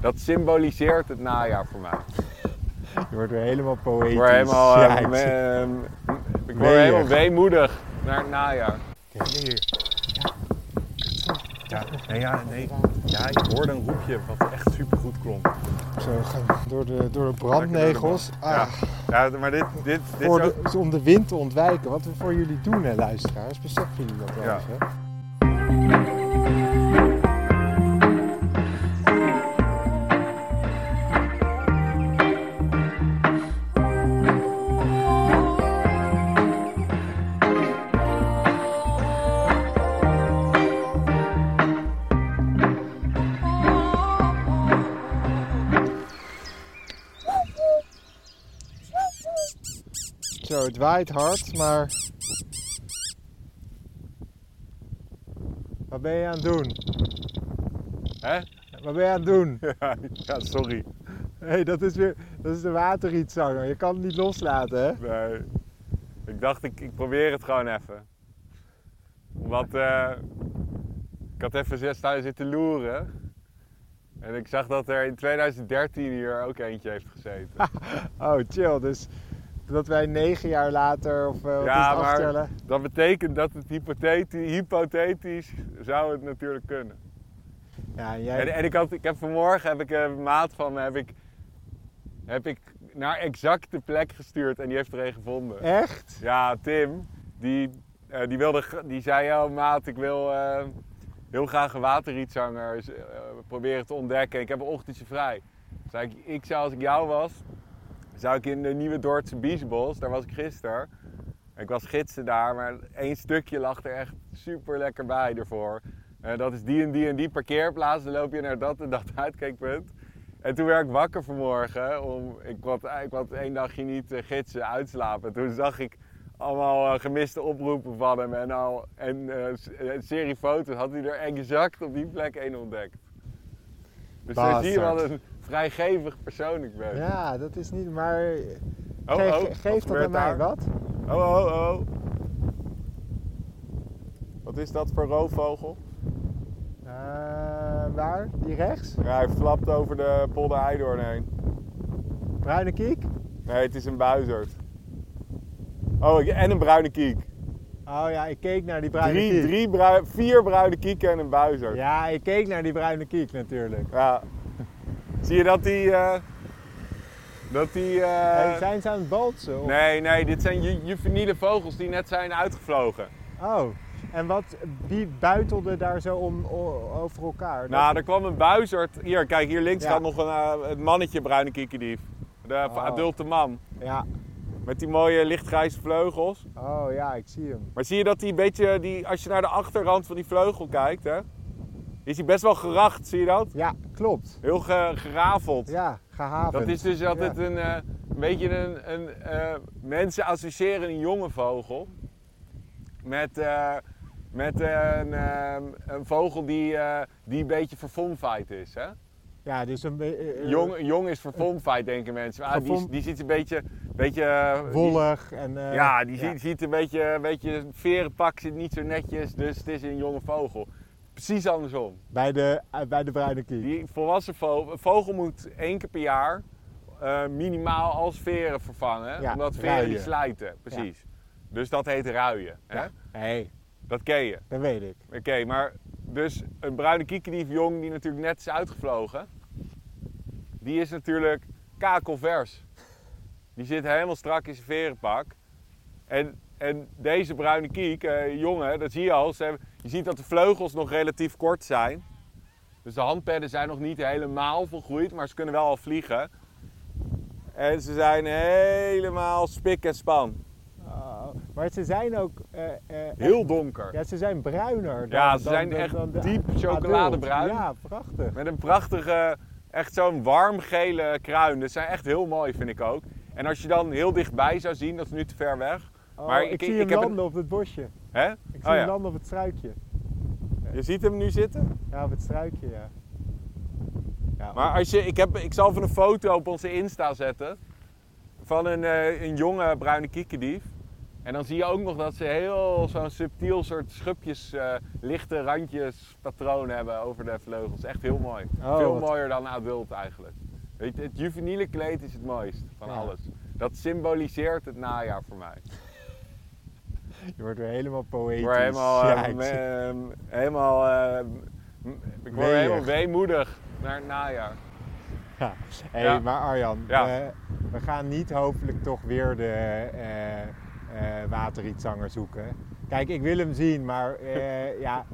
Dat symboliseert het najaar voor mij. Je wordt weer helemaal poëtisch. Ik word helemaal, Ja, eh, ik me- zie- eh, ik word Weeig. helemaal weemoedig naar het najaar. Kijk, hier. Ja, nee, ja, nee. ja, ik hoorde een roepje wat echt supergoed klonk. Zo gaan door de, door de brandnegels. Ja. Ah, ja, maar dit, dit, dit voor is ook- de- om de wind te ontwijken. Wat we voor jullie doen, hè, luisteraars. Beseffen jullie dat wel Ja. eens, hè? Zo, het waait hard, maar... Wat ben je aan het doen? Hè? Wat ben je aan het doen? ja, sorry. Hé, hey, dat is weer... Dat is de waterrietzanger. Je kan het niet loslaten, hè? Nee. Ik dacht, ik, ik probeer het gewoon even. Omdat eh, ik had even zes thuis zitten loeren. En ik zag dat er in 2013 hier ook eentje heeft gezeten. Oh, chill. Dus dat wij negen jaar later of eh, wat Ja, is het maar- aftellen... Dat betekent dat het hypothetisch, hypothetisch zou het natuurlijk kunnen. Ja, jij... En, en ik, had, ik heb vanmorgen, heb ik een maat van me, heb ik, heb ik naar exact de plek gestuurd en die heeft er een gevonden. Echt? Ja, Tim, die, eh, die, wilde, gr- die zei, oh maat, ik wil eh, heel graag een waterrietzanger eh, proberen te ontdekken. Ik heb een ochtendje vrij. Zei ik, ik zou als ik jou was, zou ik in de Nieuwe Dordtse Biesbos, daar was ik gisteren. Ik was gidsen daar, maar één stukje lag er echt super lekker bij ervoor. Eh, dat is die en die en die parkeerplaats, dan loop je naar dat en dat uitkijkpunt. En toen werd ik wakker vanmorgen, om, ik had ik had één dagje niet eh, gidsen, uitslapen. Toen zag ik allemaal eh, gemiste oproepen van hem en, al, en eh, s- eh, een serie foto's had hij er exact op die plek één ontdekt. Dus dan zie je Bastard. wat een vrijgevig persoon ik ben. Ja, dat is niet... Maar Oh, geef, oh, wat geef dat gebeurt aan mij, daar? wat? Oh, oh, oh. Wat is dat voor roofvogel? Eh, waar? Die rechts? Ja, hij flapt over de polder Eidoorn heen. Bruine kiek? Nee, het is een buizerd. Oh, ik- en een bruine kiek. Oh ja, ik keek naar die bruine Drie, kiek. drie brui- vier bruine kieken en een buizerd. Ja, ik keek naar die bruine kiek natuurlijk. Ja. Zie je dat die... eh, dat die... eh, Hey, zijn ze aan het balsen? of- Nee, nee, dit zijn ju- juveniele vogels die net zijn uitgevlogen. Oh, en wat, wie buitelde daar zo om, o- over elkaar? Nou, er kwam een buizerd. Hier, kijk, hier links Ja. staat nog een, eh, het mannetje bruine kiekendief. De Oh. adulte man. Ja, Met die mooie lichtgrijze vleugels. oh ja, ik zie hem. Maar zie je dat die beetje, die, als je naar de achterrand van die vleugel kijkt, hè, is die best wel geracht, zie je dat? Ja, klopt. Heel ge- gerafeld. Ja, gehavend. dat is dus altijd Ja. een, eh, een beetje een, een eh, mensen associëren een jonge vogel met, eh, met een, eh, een vogel die, eh, die een beetje verfomfaaid is, hè? Ja, dus een be- eh, eh, Jong, jong is verfomfaaid, denken mensen. Ah, die, Verfom- die ziet een beetje, beetje eh, die- wollig en... eh, ja, die Ziet, ziet een beetje, een beetje het verenpak zit niet zo netjes, dus het is een jonge vogel. Precies andersom. Bij de, eh, bij de bruine kiek. Die volwassen vogel, een vogel moet één keer per jaar eh, minimaal als veren vervangen, Ja, omdat veren die ruien. slijten. Precies. Dus dat heet ruien. Hè? Ja. hey, Dat ken je. dat weet ik. Oké, maar dus een bruine kiekendief jong die natuurlijk net is uitgevlogen, die is natuurlijk kakelvers. Die zit helemaal strak in zijn verenpak. En, en deze bruine kiek, eh, jongen, dat zie je al. Ze hebben- je ziet dat de vleugels nog relatief kort zijn. Dus de handpadden zijn nog niet helemaal volgroeid, maar ze kunnen wel al vliegen. En ze zijn helemaal spik en span. Oh, maar ze zijn ook... eh, eh, Heel donker. Ja, ze zijn bruiner dan Ja, ze dan- zijn dan- echt dan de diep adult. chocoladebruin. Ja, prachtig. Met een prachtige, echt zo'n warm gele kruin. Dat zijn echt heel mooi, vind ik ook. En als je dan heel dichtbij zou zien, dat is nu te ver weg. Oh, Maar ik, ik- zie ik hem heb een- landen op het bosje. Hè? Ik zie Oh hem ja. landen op het struikje. Je ziet hem nu zitten. Ja, op het struikje, ja. ja Maar als je, ik, heb, ik zal even een foto op onze Insta zetten. Van een, eh, een jonge bruine kiekendief. En dan zie je ook nog dat ze heel zo'n subtiel soort schubjes, eh, lichte randjes, patroon hebben over de vleugels. Echt heel mooi. Oh, Veel wat- mooier dan adult eigenlijk. Weet je, het juveniele kleed is het mooist van Ja. alles. Dat symboliseert het najaar voor mij. Je wordt weer helemaal poëtisch. Ik word helemaal, Ja, eh, ik me- zie- eh, helemaal, eh, m- ik word Weeig. helemaal weemoedig naar het najaar. ja. Hey, Ja. Maar Arjan, Ja. we, we gaan niet hopelijk toch weer de eh eh, waterrietzanger zoeken. Kijk, ik wil hem zien, maar eh, ja,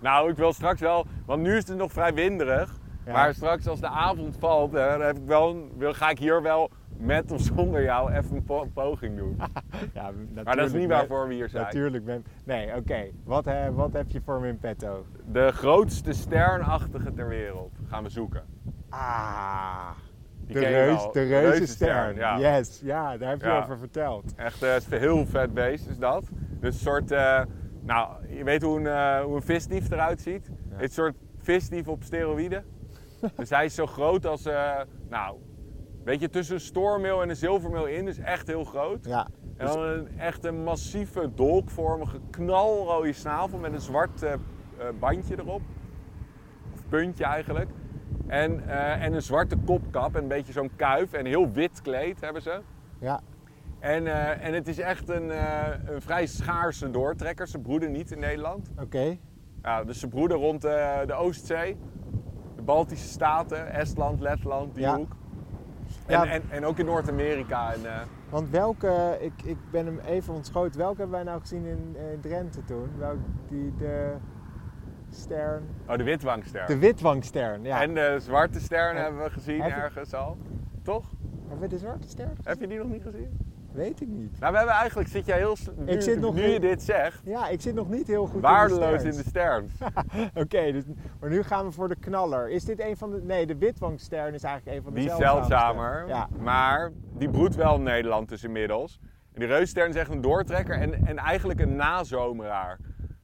Nou, ik wil straks wel, want nu is het nog vrij winderig. Ja. Maar straks als de avond valt, hè, dan heb ik wel, een- wil, ga ik hier wel met of zonder jou even een, po- een poging doen. ja maar dat is niet waarvoor. waarvoor we hier zijn. Natuurlijk ben Nee, oké. Wat, eh, wat heb je voor me in petto? De grootste sternachtige ter wereld gaan we zoeken. Ah, Die de ken je reus, wel. de reuzenstern. ja. Yes, ja, daar heb je Ja. over verteld. Echt eh, is een heel vet beest is dat. Dus een soort, eh, nou, je weet hoe een, eh, hoe een visdief eruit ziet. Ja. Dit Een soort visdief op steroïden. dus hij is zo groot als, eh, nou, weet je, tussen een stoormeel en een zilvermeel in. Dus echt heel groot. Ja, En dan een, echt een massieve dolkvormige knalrode snavel met een zwart eh, eh, bandje erop. Of puntje eigenlijk. En, eh, en een zwarte kopkap en een beetje zo'n kuif en een heel wit kleed hebben ze. ja. En, eh, en het is echt een, eh, een vrij schaarse doortrekker. Ze broeden niet in Nederland. oké. Ja, dus ze broeden rond eh, de Oostzee, de Baltische Staten, Estland, Letland, die Ja. hoek. En, Ja. en, en ook in Noord-Amerika. En, eh, Want welke, ik, ik ben hem even ontschoten, welke hebben wij nou gezien in, eh, Drenthe toen? Welk, die, de stern? oh, de witwangster. De witwangstern, ja. En de zwarte stern En- hebben we gezien heb je- ergens al. Toch? Hebben we de zwarte stern? Heb je die nog niet gezien? Weet ik niet. Nou, we hebben eigenlijk, zit jij heel, s- nu, Ik zit nog nu niet- je dit zegt, Ja, ik zit nog niet heel goed Nou- waardeloos in in de de sterns. Oké, dus, maar nu gaan we voor de knaller. Is dit een van de... Nee, de witwangstern is eigenlijk een van de Die is zeldzaamste. zeldzamer, Ja, maar die broedt wel in Nederland dus inmiddels. En die reusstern is echt een doortrekker en, en eigenlijk een nazomeraar.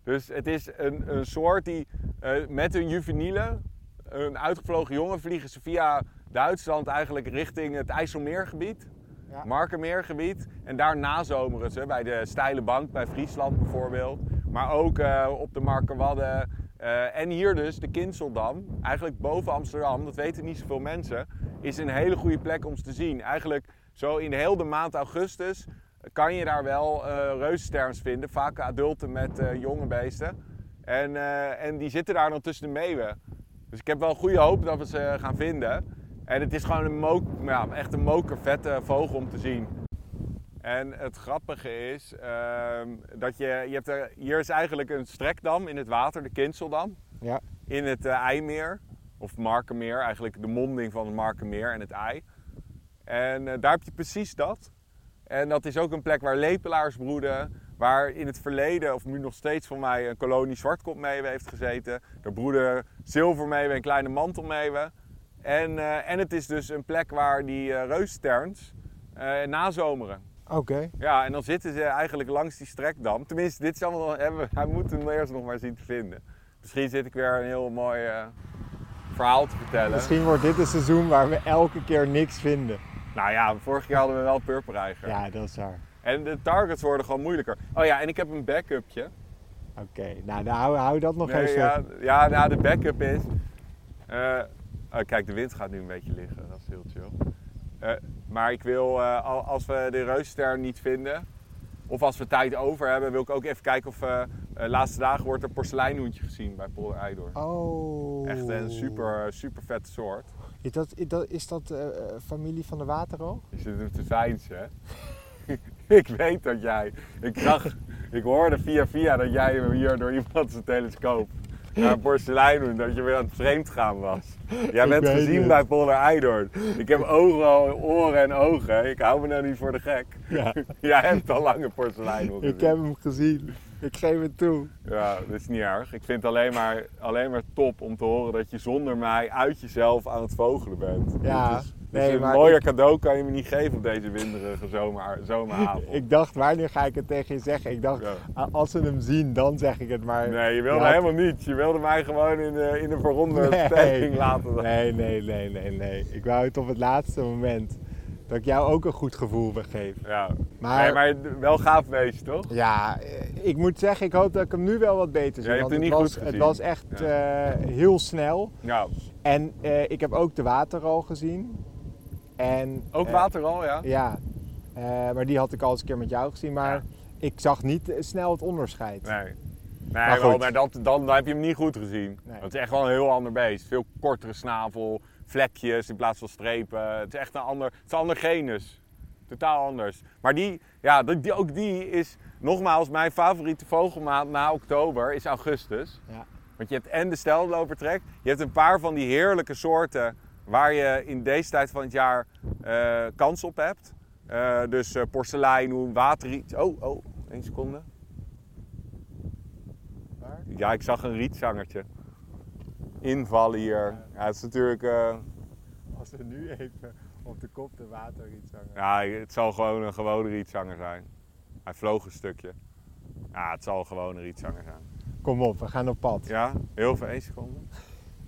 Dus het is een, een soort die eh, met hun juvenielen, een uitgevlogen jongen, vliegen ze via Duitsland eigenlijk richting het IJsselmeergebied. Ja. Markermeergebied. En daar nazomeren ze, bij de Steile Bank, bij Friesland bijvoorbeeld. Maar ook eh, op de Markerwadden. Eh, en hier dus, de Kinseldam, eigenlijk boven Amsterdam, dat weten niet zoveel mensen, is een hele goede plek om ze te zien. Eigenlijk zo in heel de maand augustus kan je daar wel eh reussterns vinden. Vaak adulten met eh, jonge beesten. En, eh, en die zitten daar dan tussen de meeuwen. Dus ik heb wel goede hoop dat we ze eh, gaan vinden. En het is gewoon een mo- ja, echt een mokervette eh, vogel om te zien. En het grappige is ehm, dat je, je hebt er, hier is eigenlijk een strekdam in het water, de Kinseldam, ja. in het eh, IJmeer, of Markenmeer, eigenlijk de monding van het Markenmeer en het IJ. En eh, daar heb je precies dat. En dat is ook een plek waar lepelaars broeden, waar in het verleden, of nu nog steeds voor mij, een kolonie zwartkopmeeuwen heeft gezeten. Daar broeden zilvermeeuwen en kleine mantelmeeuwen. En, eh, en het is dus een plek waar die eh reussterns eh, nazomeren. Oké. Ja, en dan zitten ze eigenlijk langs die strekdam. Tenminste, dit is allemaal, hebben, hij moet hem eerst nog maar zien te vinden. Misschien zit ik weer een heel mooi eh, verhaal te vertellen. Misschien wordt dit een seizoen waar we elke keer niks vinden. Nou ja, vorig jaar hadden we wel purperijger. Ja, dat is waar. En de targets worden gewoon moeilijker. Oh ja, en ik heb een backupje. Oké, nou dan hou, hou dat nog Nee, even. ja, ja, nou, de backup is. eh, oh, kijk, de wind gaat nu een beetje liggen. Dat is heel chill. Eh, maar ik wil, eh, al- als we de reusster niet vinden, of als we tijd over hebben, wil ik ook even kijken of. eh, eh, laatste dagen wordt er porseleinhoentje gezien bij Polder Eidoorn. Oh. Echt een super, super vette soort. Is dat, is dat, is dat eh, eh, familie van de waterroog? Je zit hem te veinzen, hè? ik weet dat jij. Ik zag, ik hoorde via via dat jij hem hier door iemand zijn telescoop naar een porselein doen, dat je weer aan het vreemd gaan was. Jij Ik bent weet gezien het. bij Polder Eidoorn. Ik heb ogen, al- oren en ogen. Ik hou me nou niet voor de gek. Ja. jij hebt al lange porselein gezien. Ik heb hem gezien. Ik geef het toe. Ja, dat is niet erg. Ik vind het alleen maar, alleen maar top om te horen dat je zonder mij uit jezelf aan het vogelen bent. Ja, Dit is- dit nee, is een maar mooier ik- cadeau kan je me niet geven op deze winderige zomer, zomeravond. Ik dacht, wanneer ga ik het tegen je zeggen? Ik dacht, Ja. a- als ze hem zien, dan zeg ik het maar. Nee, je wilde Ja, helemaal niet. Je wilde mij gewoon in de, in de verronde stelling laten. Nee, nee, nee, nee, nee. Ik wou het op het laatste moment. dat ik jou ook een goed gevoel wil geven. Ja. Maar- Maar... Nee, maar wel gaaf wees, toch? Ja, eh, ik moet zeggen, ik hoop dat ik hem nu wel wat beter zie. Ja, je want hebt hem het, niet goed was, het gezien. was echt eh, heel snel. Nou, En eh, ik heb ook de waterral gezien. En, ook eh, water al, ja? Ja, Eh, maar die had ik al eens een keer met jou gezien. Maar Ja. ik zag niet eh, snel het onderscheid. Nee. Nee, Maar maar, goed. maar dat, dan, dan heb je hem niet goed gezien. Nee. Het is echt wel een heel ander beest. Veel kortere snavel, vlekjes in plaats van strepen. Het is echt een ander, het is een ander genus. Totaal anders. Maar die, ja, die, die- ook die is, nogmaals, mijn favoriete vogelmaand na oktober is augustus. Ja. Want je hebt en de stellopertrek, je hebt een paar van die heerlijke soorten waar je in deze tijd van het jaar eh, kans op hebt. Eh, dus eh, porselein, waterriet. Oh, oh, één seconde. Waar? Ja, ik zag een rietzangertje. Invallen hier. Ja, het is natuurlijk. eh, Als we nu even op de kop de water iets hangen. ja, het zal gewoon een gewone rietzanger zijn. Hij vloog een stukje. Ja, het zal gewoon een rietzanger zijn. Kom op, we gaan op pad. Ja, heel veel één seconde.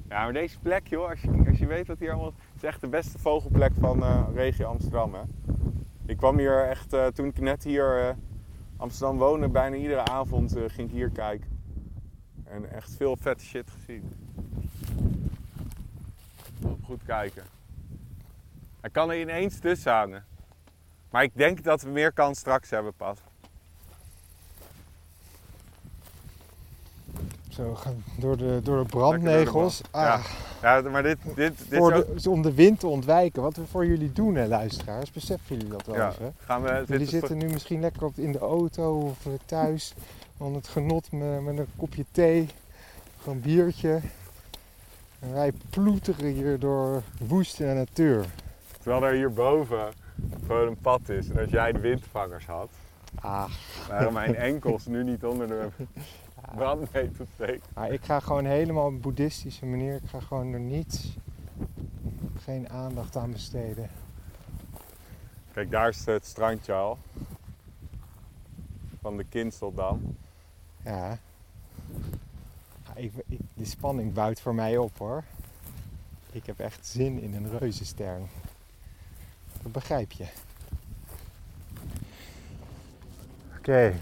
Ja, maar deze plek, joh, als je, als je weet dat hier allemaal. Het is echt de beste vogelplek van eh, regio Amsterdam, hè? Ik kwam hier echt. eh, toen ik net hier eh, Amsterdam woonde, bijna iedere avond eh, ging ik hier kijken. En echt veel vette shit gezien. Moet Goed kijken. Hij kan er ineens tussen hangen. Maar ik denk dat we meer kans straks hebben, pas. Zo, we gaan door de, door de brandnegels. Ja, ja maar dit, dit, dit is Voor ook... de- om de wind te ontwijken. Wat we voor jullie doen, hè, luisteraars, beseffen jullie dat wel Ja, eens? Hè? gaan we Jullie zitten... zitten nu misschien lekker op, in de auto of eh, thuis aan het genot me- met een kopje thee, of een biertje. En wij ploeteren hier door woeste natuur. Terwijl er hierboven gewoon een pad is. En als jij de windvangers had, Ah, waren mijn enkels nu niet onder de brandnetel steken. maar ik ga gewoon helemaal op een boeddhistische manier. Ik ga gewoon er niets, geen aandacht aan besteden. Kijk, daar is het strandje al. Van de Kinsteldam. Ja. Ja, ik, ik- de spanning bouwt voor mij op hoor. Ik heb echt zin in een reuzenstern. Dat begrijp je. Oké.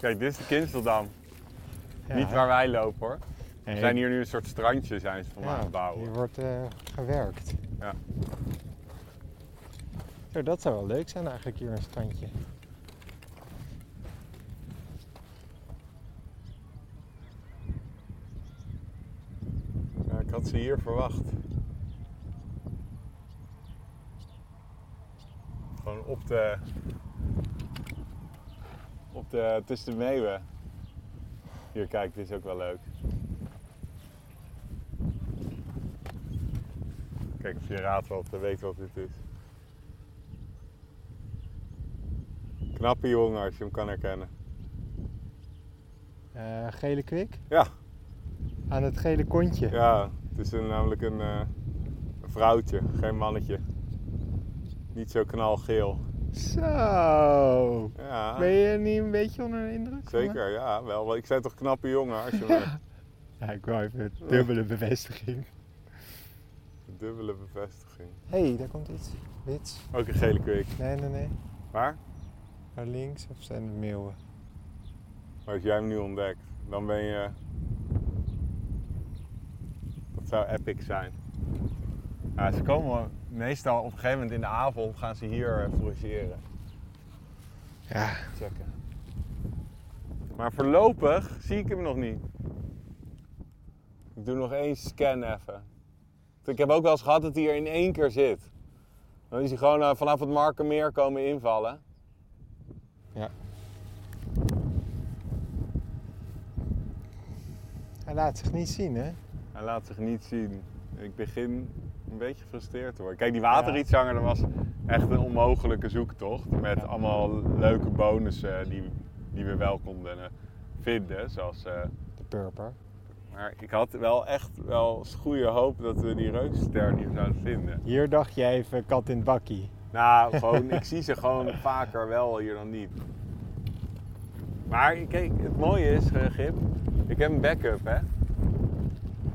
Kijk, dit is de Kinsteldam. ja. Niet waar wij lopen hoor. Nee, Ze zijn hier nu een soort strandje zijn ze van ja, aan het bouwen. Hier wordt eh, gewerkt. Ja. Zo, dat zou wel leuk zijn eigenlijk hier een strandje. Ja, ik had ze hier verwacht. Gewoon op de. Op de. tussen de meeuwen. Hier, kijk, dit is ook wel leuk. Kijk of je raadt wat, eh, weet wat dit is. Knappe jongen als je hem kan herkennen. Eh, gele kwik? Ja. Aan het gele kontje. Ja, het is een- namelijk een, eh, een vrouwtje, geen mannetje. Niet zo knalgeel. Zo. Ja, Ben je niet een beetje onder de indruk? van me? Ah. zeker, ja, wel. Want Ik zei toch knappe jongen als je me Ja, ik wou even een dubbele bevestiging. dubbele bevestiging. Hé, hey, daar komt iets. Wits. Ook een gele kwik. Nee, nee, nee. Maar, Naar links of zijn het meeuwen? maar als jij hem nu ontdekt, dan ben je... Dat zou epic zijn. Ja, ze komen meestal op een gegeven moment in de avond gaan ze hier eh, forageren. Ja. checken. Maar voorlopig zie ik hem nog niet. Ik doe nog één scan even. Want Ik heb ook wel eens gehad dat hij er in één keer zit. Dan is hij gewoon eh, vanaf het Markenmeer komen invallen. Hij laat zich niet zien, hè? Hij laat zich niet zien. Ik begin een beetje gefrustreerd te worden. Kijk, die waterrietzanger, dat was echt een onmogelijke zoektocht. Met Ja. allemaal leuke bonussen die, die we wel konden eh, vinden. Zoals eh, De purper. Maar ik had wel echt wel eens goede hoop dat we die reukster hier zouden vinden. Hier dacht jij even kat in het bakkie. Nou, gewoon, ik zie ze gewoon vaker wel hier dan niet. Maar kijk, het mooie is, eh, Gip, ik heb een backup, hè.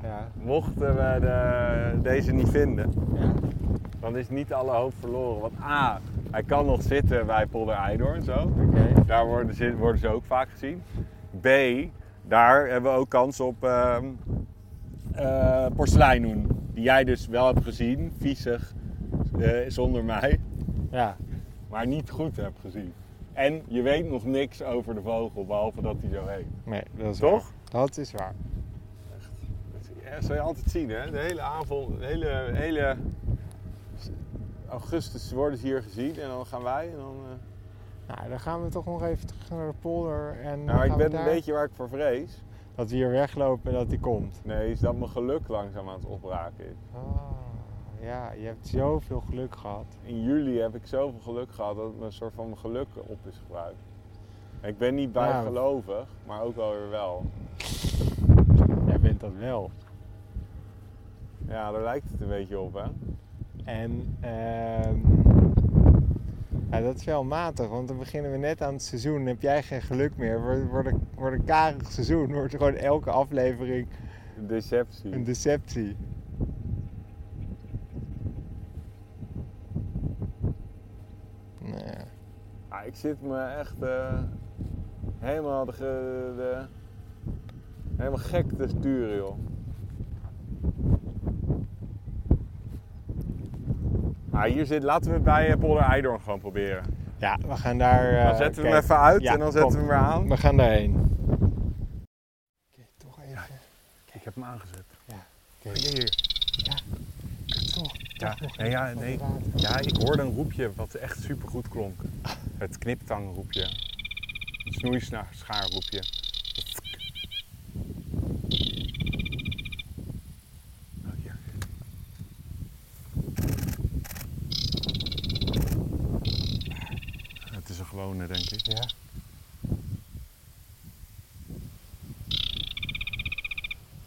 Ja. Mochten we de- deze niet vinden, ja. dan dan is niet alle hoop verloren. Want A, hij kan nog zitten bij Polder Eidoorn zo. Daar worden ze, worden ze ook vaak gezien. B, daar hebben we ook kans op ehm eh, porseleinhoen. Die jij dus wel hebt gezien, viezig, eh, zonder mij. Ja. Maar niet goed hebt gezien. En je weet nog niks over de vogel, behalve dat hij zo heet. Nee, dat is Toch? waar. Dat is waar. Ja, dat zal je altijd zien, hè? De hele avond, de hele, hele augustus worden ze hier gezien en dan gaan wij. En dan, eh, Nou, dan gaan we toch nog even terug naar de polder. En dan Nou, ik gaan we ben een daar- beetje waar ik voor vrees. Dat we hier weglopen en dat die komt. Nee, is dat mijn geluk langzaam aan het opraken is. Ah, ja, je hebt zoveel geluk gehad. In juli heb ik zoveel geluk gehad dat het een soort van mijn geluk op is gebruikt. En ik ben niet bijgelovig, maar ook wel weer wel. Jij bent dat wel. Ja, daar lijkt het een beetje op, hè? En ehm, ja, dat is wel matig, want dan beginnen we net aan het seizoen. Dan heb jij geen geluk meer. Wordt- Wordt een- wordt een karig seizoen. Wordt gewoon elke aflevering Deceptie. een deceptie. Nee. Ja, ik zit me echt eh, helemaal, de, ge- de- helemaal gek te sturen, joh. Ah, hier zit, laten we het bij eh, Polder Eidoorn gewoon proberen. Ja, we gaan daar. eh, Dan zetten we hem kijken. even uit Ja, en dan zetten we hem kom. weer aan. We gaan daarheen. Oké, toch even. Ik heb hem aangezet. Oké, toch. Ja, toch nog nee, ja, even wat nee. water. Ja, ik hoorde een roepje wat echt supergoed klonk. Het kniptangroepje. Het snoeischaarroepje. Oh, hier. Het is een gewone, denk ik. Ja.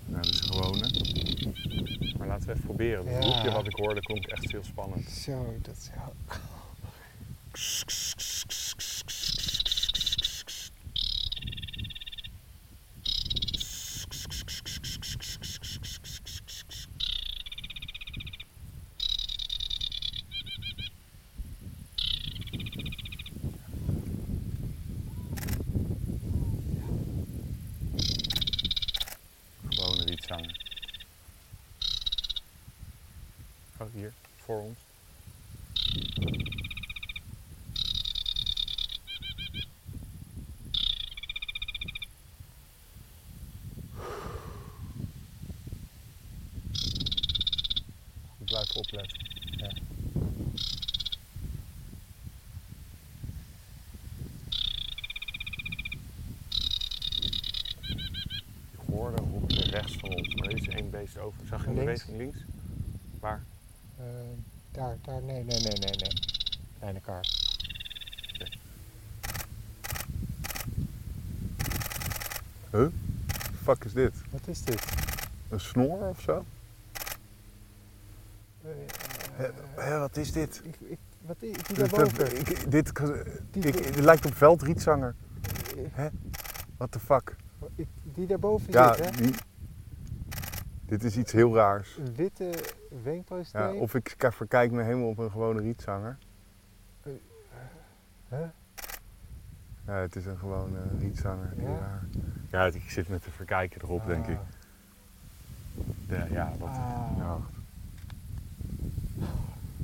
Nou, het is een gewone. Maar laten we even proberen. Het Ja. roepje wat ik hoorde klonk echt heel spannend. Zo, dat is heel- Gewone liedzanger. Oh, hier, voor ons. Goed blijven opletten. Ik hoorde een hoekje rechts van ons, maar er is één beest over. Zag je een Links? beweging links? Waar? Eh, daar, daar, nee, nee, nee, nee, nee. Kleine kar. Fuck is dit? Wat is dit? Een snor of zo? Eh, wat is dit? ik, ik, wat is die Dit, dat- daarboven? ik- dit, Die, ik- het lijkt op veldrietzanger. eh, What the fuck? ik- die daarboven Ja, zit, hè? die- dit is iets heel raars. Een witte wenkbrauwsteek. Ja, of ik k- verkijk me helemaal op een gewone rietzanger. Eh, Huh? Ja, het is een gewone rietzanger. Ja? Heel raar. Ja, ik zit met te verkijken erop, denk ik. Ah, Ja, ja, wat, nou, Ah. ja.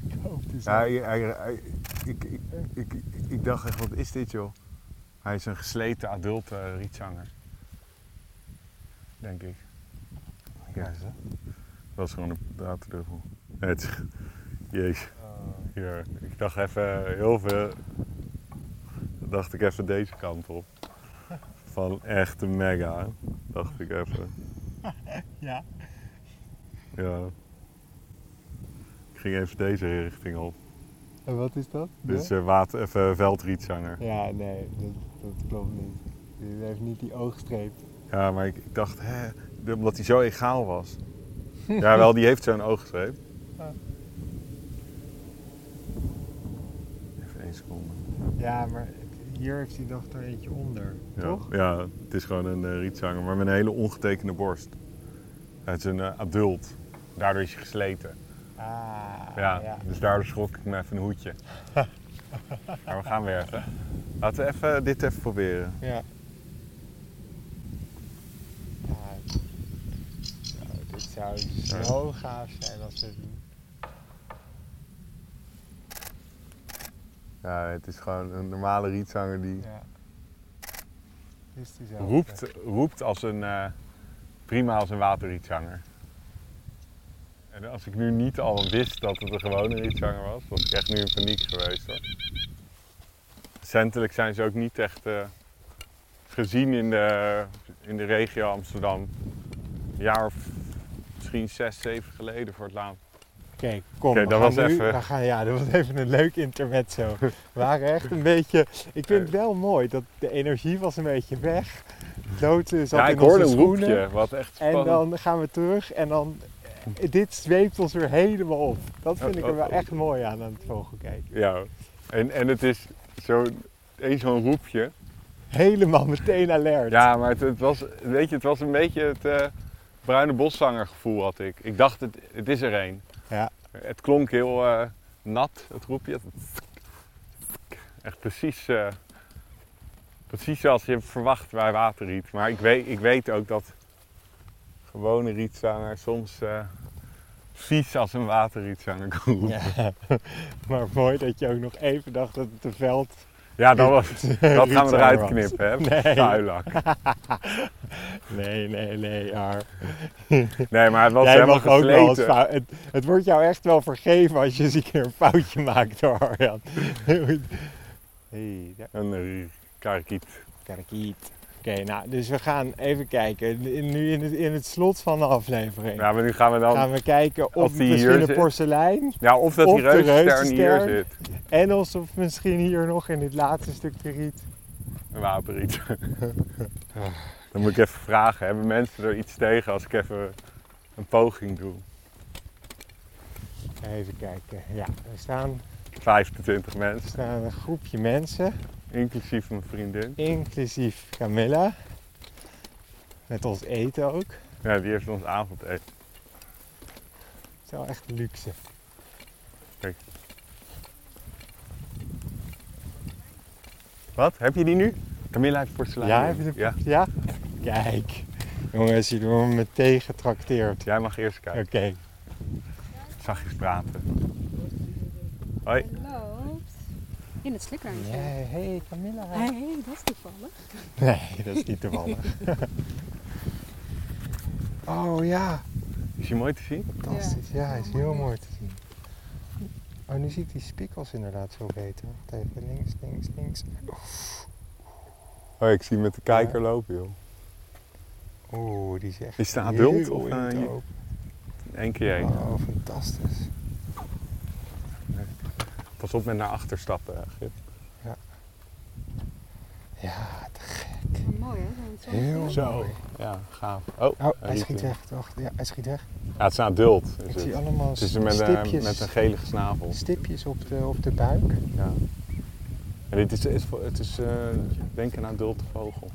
ik hoop het is Ja, niet. hij- hij- hij- ik, ik, ik, ik, ik dacht echt, wat is dit joh? Hij is een gesleten adult eh, rietzanger. Denk ik. Ja, is dat? Dat is gewoon een draaddubbel. Nee, het is... Jezus. Ah. Hier, ik dacht even heel veel... Dacht ik even deze kant op. Van echte mega. Dacht ik even. Ja. Ja. Ik ging even deze richting op. En wat is dat? Dit is eh, water, of, eh, veldrietzanger. Ja, nee, dat, dat klopt niet. Dit heeft niet die oogstreep. Ja, maar ik, ik dacht, hè, omdat hij zo egaal was. ja, wel, die heeft zo'n oogstreep. Ja. Even één seconde. Ja, maar het- hier heeft hij nog er eentje onder. Ja, Toch? Ja, het is gewoon een eh, rietzanger, maar met een hele ongetekende borst. Het is een eh, adult. Daardoor is hij gesleten. Ah, Ja, ja. dus daar schrok ik me even een hoedje. maar we gaan weer even. Laten we even dit even proberen. Ja. Ah, nou, dit zou zo gaaf zijn als we het doen. Ja, het is gewoon een normale rietzanger die Ja. Dit is diezelfde. roept, roept als een, eh, prima als een waterrietzanger. En als ik nu niet al wist dat het een gewone rietzanger was, was ik echt nu in paniek geweest hoor. Recentelijk zijn ze ook niet echt eh, gezien in de, in de regio Amsterdam. Een jaar of misschien zes, zeven geleden voor het laatst. Oké, kom. Oké, we dat was gaan nu- even- we gaan, ja, dat was even een leuk intermezzo. We waren echt een beetje... Ik vind het wel mooi dat de energie was een beetje weg. Doten zat Ja, in ik hoorde onze een schoenen. roepje, wat echt En spannend. dan gaan we terug en dan... eh, Dit zweept ons weer helemaal op. Dat vind ik er Oh, wel echt mooi aan, aan het vogelkijken. Ja, en, en het is zo, eens zo'n roepje. Helemaal meteen alert. Ja, maar het, het was, weet je, het was een beetje het eh, bruine boszanger gevoel had ik. Ik dacht, het, het is er een. Ja. Het klonk heel eh, nat, het roepje. Echt precies, eh, precies zoals je verwacht bij waterriet. Maar ik weet, ik weet ook dat gewone rietzanger soms eh, vies als een waterrietzanger kan roepen. Ja, Ja. maar mooi dat je ook nog even dacht dat het een veld... dat, was, dat gaan we Rietzanger eruit was. knippen, hè? Nee. Vuilak. Nee, nee, nee, Ar. Nee, maar het was Jij helemaal mag ook wel eens gesleten. fout. Het, het wordt jou echt wel vergeven als je eens een keer een foutje maakt hoor, Arjan. hey, daar- Een eh, karakiet. karakiet. Oké, nou, dus we gaan even kijken. Nu in het, in het slot van de aflevering Ja, maar nu gaan we dan... gaan we kijken als of die misschien hier een zit. porselein Ja, of dat Of die de reuzenstern hier reuzenstern. zit. en alsof misschien hier nog in dit laatste stuk de riet. Een wapenriet. dan moet ik even vragen, hebben mensen er iets tegen als ik even een poging doe? Even kijken. Ja, er staan, 25 er mensen, staan een groepje mensen, inclusief mijn vriendin. inclusief Camilla. Met ons eten ook. Ja, die heeft ons avondeten. Het is wel echt luxe. Wat? Heb je die nu? Camilla heeft porselein. Ja, heb je de- ja. Ja? Kijk. Jongens, jullie worden meteen getrakteerd. Jij mag eerst Oké. kijken. Zachtjes praten. Hoi. Hij loopt in het slikkerhuis. Nee, hey Camilla. Hey, dat is toevallig. Nee, dat is niet toevallig. oh ja, Is je mooi te zien? fantastisch. Ja, is heel mooi te zien. Oh, nu zie ik die spikkels inderdaad zo beter. Wacht even, links, links, links. Oh, ik zie met de kijker lopen, joh. Oeh, Oh, die is echt Is het een heel adult of, in het eh, je- open. Eén keer één. Oh, fantastisch. Pas op met naar achter stappen, hè, Gip. Ja, te gek. Wat Mooi hè, zo'n zonnetje. Heel Zo. mooi. Ja, gaaf. Oh, Oh, hij riet schiet in. weg, toch? Ja, hij schiet weg. Ja, het is een adult. Is Ik het. zie allemaal Het is dus een met, een, stipjes. met een gelige snavel. stipjes op de, op de buik. Ja. En dit is, is voor- het is eh, denk ik een adulte vogel.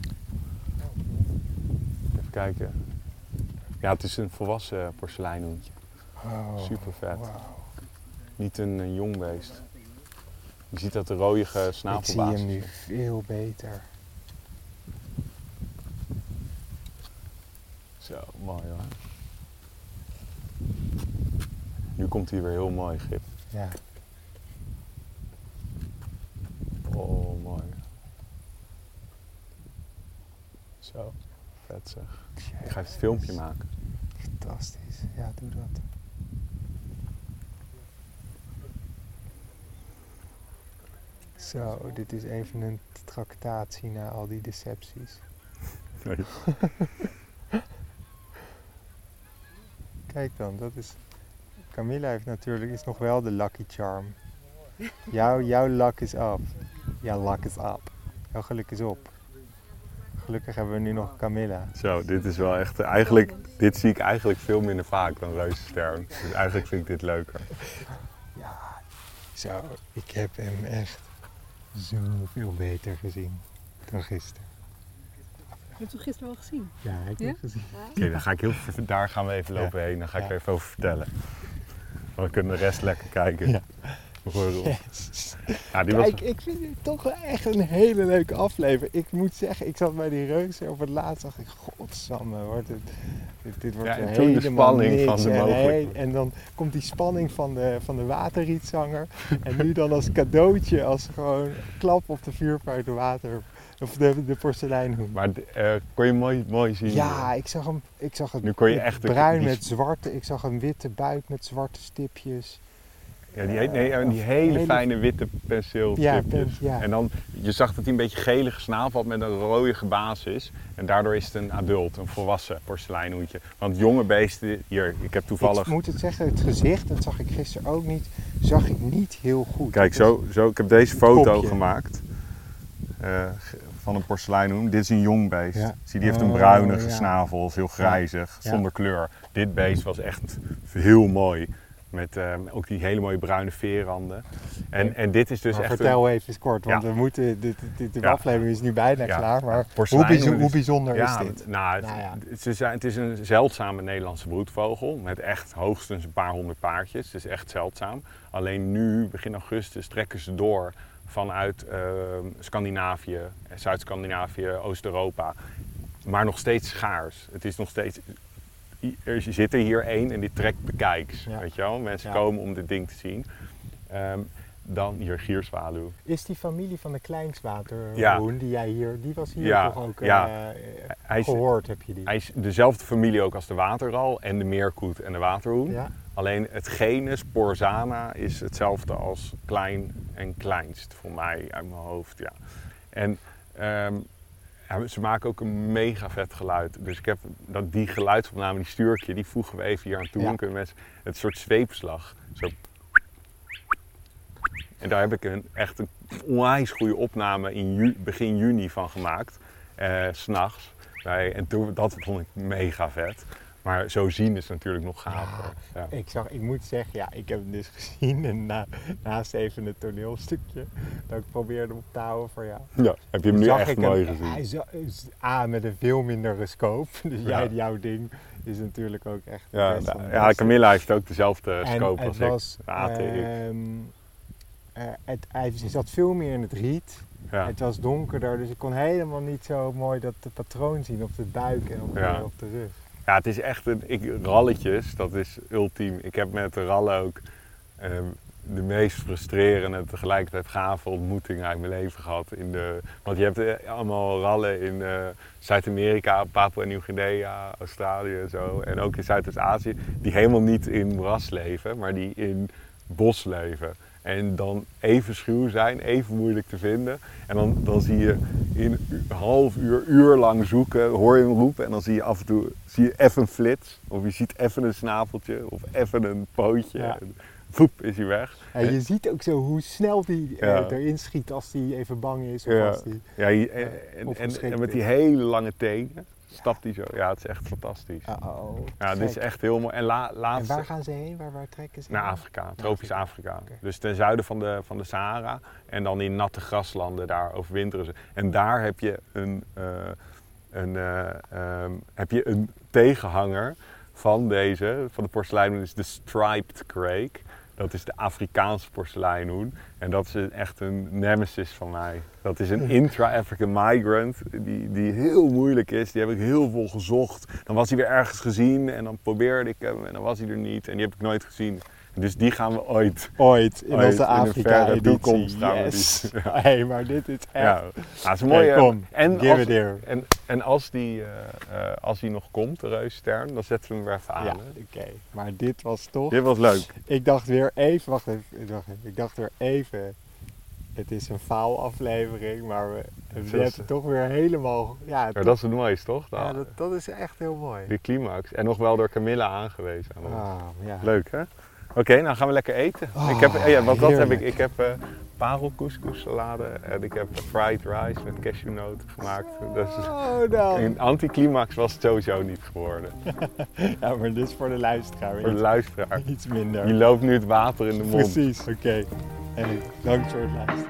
Even kijken. Ja, het is een volwassen porseleinhoentje. Oh, Super vet. wauw. Niet een, eh, jong beest. Je ziet dat de rooie Ik zie snavelbaas. hem nu is. veel beter. Zo, mooi hoor. Nu komt hij weer heel mooi, Gip. Ja. Oh, mooi. Zo, vet zeg. Ik ga even een filmpje maken. Fantastisch. Ja, doe dat. Zo, dit is even een tractatie na al die decepties. Nee. Kijk dan, dat is... Camilla heeft natuurlijk is nog wel de lucky charm. Jouw, jouw luck is af. Jouw luck is up. Jouw geluk is op. Gelukkig hebben we nu nog Camilla. Zo, dit is wel echt. Eigenlijk, dit zie ik eigenlijk veel minder vaak dan reuzenstern. Dus eigenlijk vind ik dit leuker. Ja, zo, ik heb hem echt zoveel beter gezien dan gisteren. Je hebt hem gisteren al gezien. Ja, ik heb Ja? gezien. Oké, dan ga ik heel, daar gaan we even lopen heen. Dan ga ik Ja. er even over vertellen. Dan kunnen de rest lekker kijken. Ja. Bijvoorbeeld. Ja, die Kijk, was... ik vind dit toch wel echt een hele leuke aflevering. Ik moet zeggen, ik zat bij die reuzen op het laatst dacht ik, godsamme, wordt dit, dit, dit wordt Ja, en helemaal toen de spanning niks. van de en, mogelijk- hey, en dan komt die spanning van de, van de waterrietzanger. en nu dan als cadeautje, als gewoon klap op de vuurpijp de water, of de, de porseleinhoen. Maar eh, kon je mooi, mooi zien. Ja, ik zag, hem, ik zag het Nu kon je echt de- bruin die- met zwarte, ik zag een witte buik met zwarte stipjes. Ja, die, he- nee, en die hele, Hele- fijne witte penseeltipjes. Ja, pen- ja. En dan, je zag dat hij een beetje gelige snavel had met een rode basis. En daardoor is het een adult, een volwassen porseleinhoedje. Want jonge beesten, hier, ik heb toevallig... Ik moet het zeggen, het gezicht, dat zag ik gisteren ook niet, zag ik niet heel goed. Dus- Kijk, Dat is- zo, zo, ik heb deze foto kopje. gemaakt eh, ge- van een porseleinhoen. Dit is een jong beest. Ja. Zie, die heeft een Oh, bruinige ja. snavel, is heel grijzig, Ja. zonder kleur. Dit beest was echt heel mooi. Met eh, ook die hele mooie bruine veerranden. En, en dit is dus Maar echt een- vertel even kort, want Ja. we moeten, dit, dit- dit- de Ja. aflevering is nu bijna Ja. klaar, maar hoe, Porselein bijzo- is- hoe bijzonder ja, is dit? Nou, het, Nou ja. het is, het is een zeldzame Nederlandse broedvogel met echt hoogstens een paar honderd paardjes. Het is echt zeldzaam. Alleen nu, begin augustus, trekken ze door vanuit eh, Scandinavië, Zuid-Scandinavië, Oost-Europa. Maar nog steeds schaars. Het is nog steeds... Er zit er hier één en die trekt de kijks. Ja. Weet je wel? Mensen Ja. komen om dit ding te zien. Ehm, dan hier gierzwaluw. Is die familie van de Kleinswaterhoen Ja. die jij hier, die was hier Ja, toch ook eh, ja. Hij is, gehoord, heb je die? hij is dezelfde familie ook als de waterral en de meerkoet en de waterhoen. Ja. Alleen het genus Porzana is hetzelfde als klein en kleinst, voor mij uit mijn hoofd. Ja. En ehm, ja, ze maken ook een mega vet geluid. Dus ik heb dat, die geluidsopname, die stuur ik je, die voegen we even hier aan toe. Ja. Dan kunnen mensen het soort zweepslag. Zo. En daar heb ik een, echt een onwijs goede opname in ju- begin juni van gemaakt. eh, s S'nachts. En toen, dat vond ik mega vet. Maar zo zien is natuurlijk nog gaver. Ja. Ik, zag, ik moet zeggen, ja, ik heb hem dus gezien en na, naast even het toneelstukje dat ik probeerde op te houden voor jou. Ja, heb je hem nu zag echt ik hem- mooi gezien? Hij za- is A, met een veel mindere scope. Dus Ja. jij, jouw ding is natuurlijk ook echt Ja, best nou, wel ja, best. Camilla heeft ook dezelfde En scope het als was, ik. De ATX. ehm, eh, het, hij zat veel meer in het riet. ja. Het was donkerder, dus ik kon helemaal niet zo mooi dat de patroon zien op de buik en op de, Ja. op de rug. ja, het is echt een... Ik, ralletjes, dat is ultiem. Ik heb met de rallen ook ehm, de meest frustrerende en tegelijkertijd gave ontmoeting uit mijn leven gehad. In de, want je hebt eh, allemaal rallen in eh, Zuid-Amerika, Papua Nieuw-Guinea, Australië en zo. En ook in Zuidoost-Azië, die helemaal niet in moeras leven, maar die in bos leven. En dan even schuw zijn, even moeilijk te vinden. En dan, dan zie je in een half uur, uur lang zoeken, hoor je hem roepen. En dan zie je af en toe zie je even een flits. Of je ziet even een snaveltje of even een pootje. Ja. En voep, is hij weg. En je ziet ook zo hoe snel die eh, Ja. erin schiet als die even bang is. Of Ja. als die, Ja, je- en, en- en, opgeschrikt en met is. die hele lange tenen stapt hij zo. Ja, het is echt fantastisch. Ja, Uh-oh, dit is Ah, oh, gek. echt heel mooi. En la, En laatste waar gaan ze heen? Waar, waar trekken ze naar heen? Afrika, tropisch Afrika. Oké. Dus ten zuiden van de, van de Sahara. En dan in natte graslanden, daar overwinteren ze. En daar heb je een, eh, een, eh, ehm, heb je een tegenhanger van deze, van de porseleinhoen, is de striped crake. Dat is de Afrikaanse porseleinhoen. En dat is een- echt een nemesis van mij. Dat is een intra-African migrant die, die heel moeilijk is. Die heb ik heel veel gezocht. Dan was hij weer ergens gezien en dan probeerde ik hem en dan was hij er niet. En die heb ik nooit gezien. Dus die gaan we ooit. Ooit in Ooit, in onze een verre Afrika-editie. toekomst gaan we yes. hey, maar dit is echt... Ja, ja het is Oké, mooi. hè. kom, en, give als, it here. en, en als die, eh, eh, als die nog komt, de reusstern, dan zetten we hem weer even aan. Ja, hè. oké. Maar dit was toch... Dit was leuk. Ik dacht weer even... Wacht even, wacht even. Ik dacht weer even... Het is een faalaflevering, maar we, we is- hebben het toch weer helemaal... Ja, Maar dat is het mooiste, toch? ja, dat, dat is echt heel mooi. De climax. En nog wel door Camilla aangewezen. aan ons. Ah, ja. Leuk, hè? Oké, nou gaan we lekker eten. Ah, ik heb, eh, ja, want dat heb ik. heerlijk. Ik heb eh parelcouscous salade en ik heb fried rice met cashewnoten gemaakt. Dus Oh, dan. een anticlimax was het sowieso niet geworden. Ja, maar dit is voor de luisteraar. Voor de iets- luisteraar. Iets Je minder. loopt nu het water in de mond. Precies, oké. Hey, dank voor het luisteren.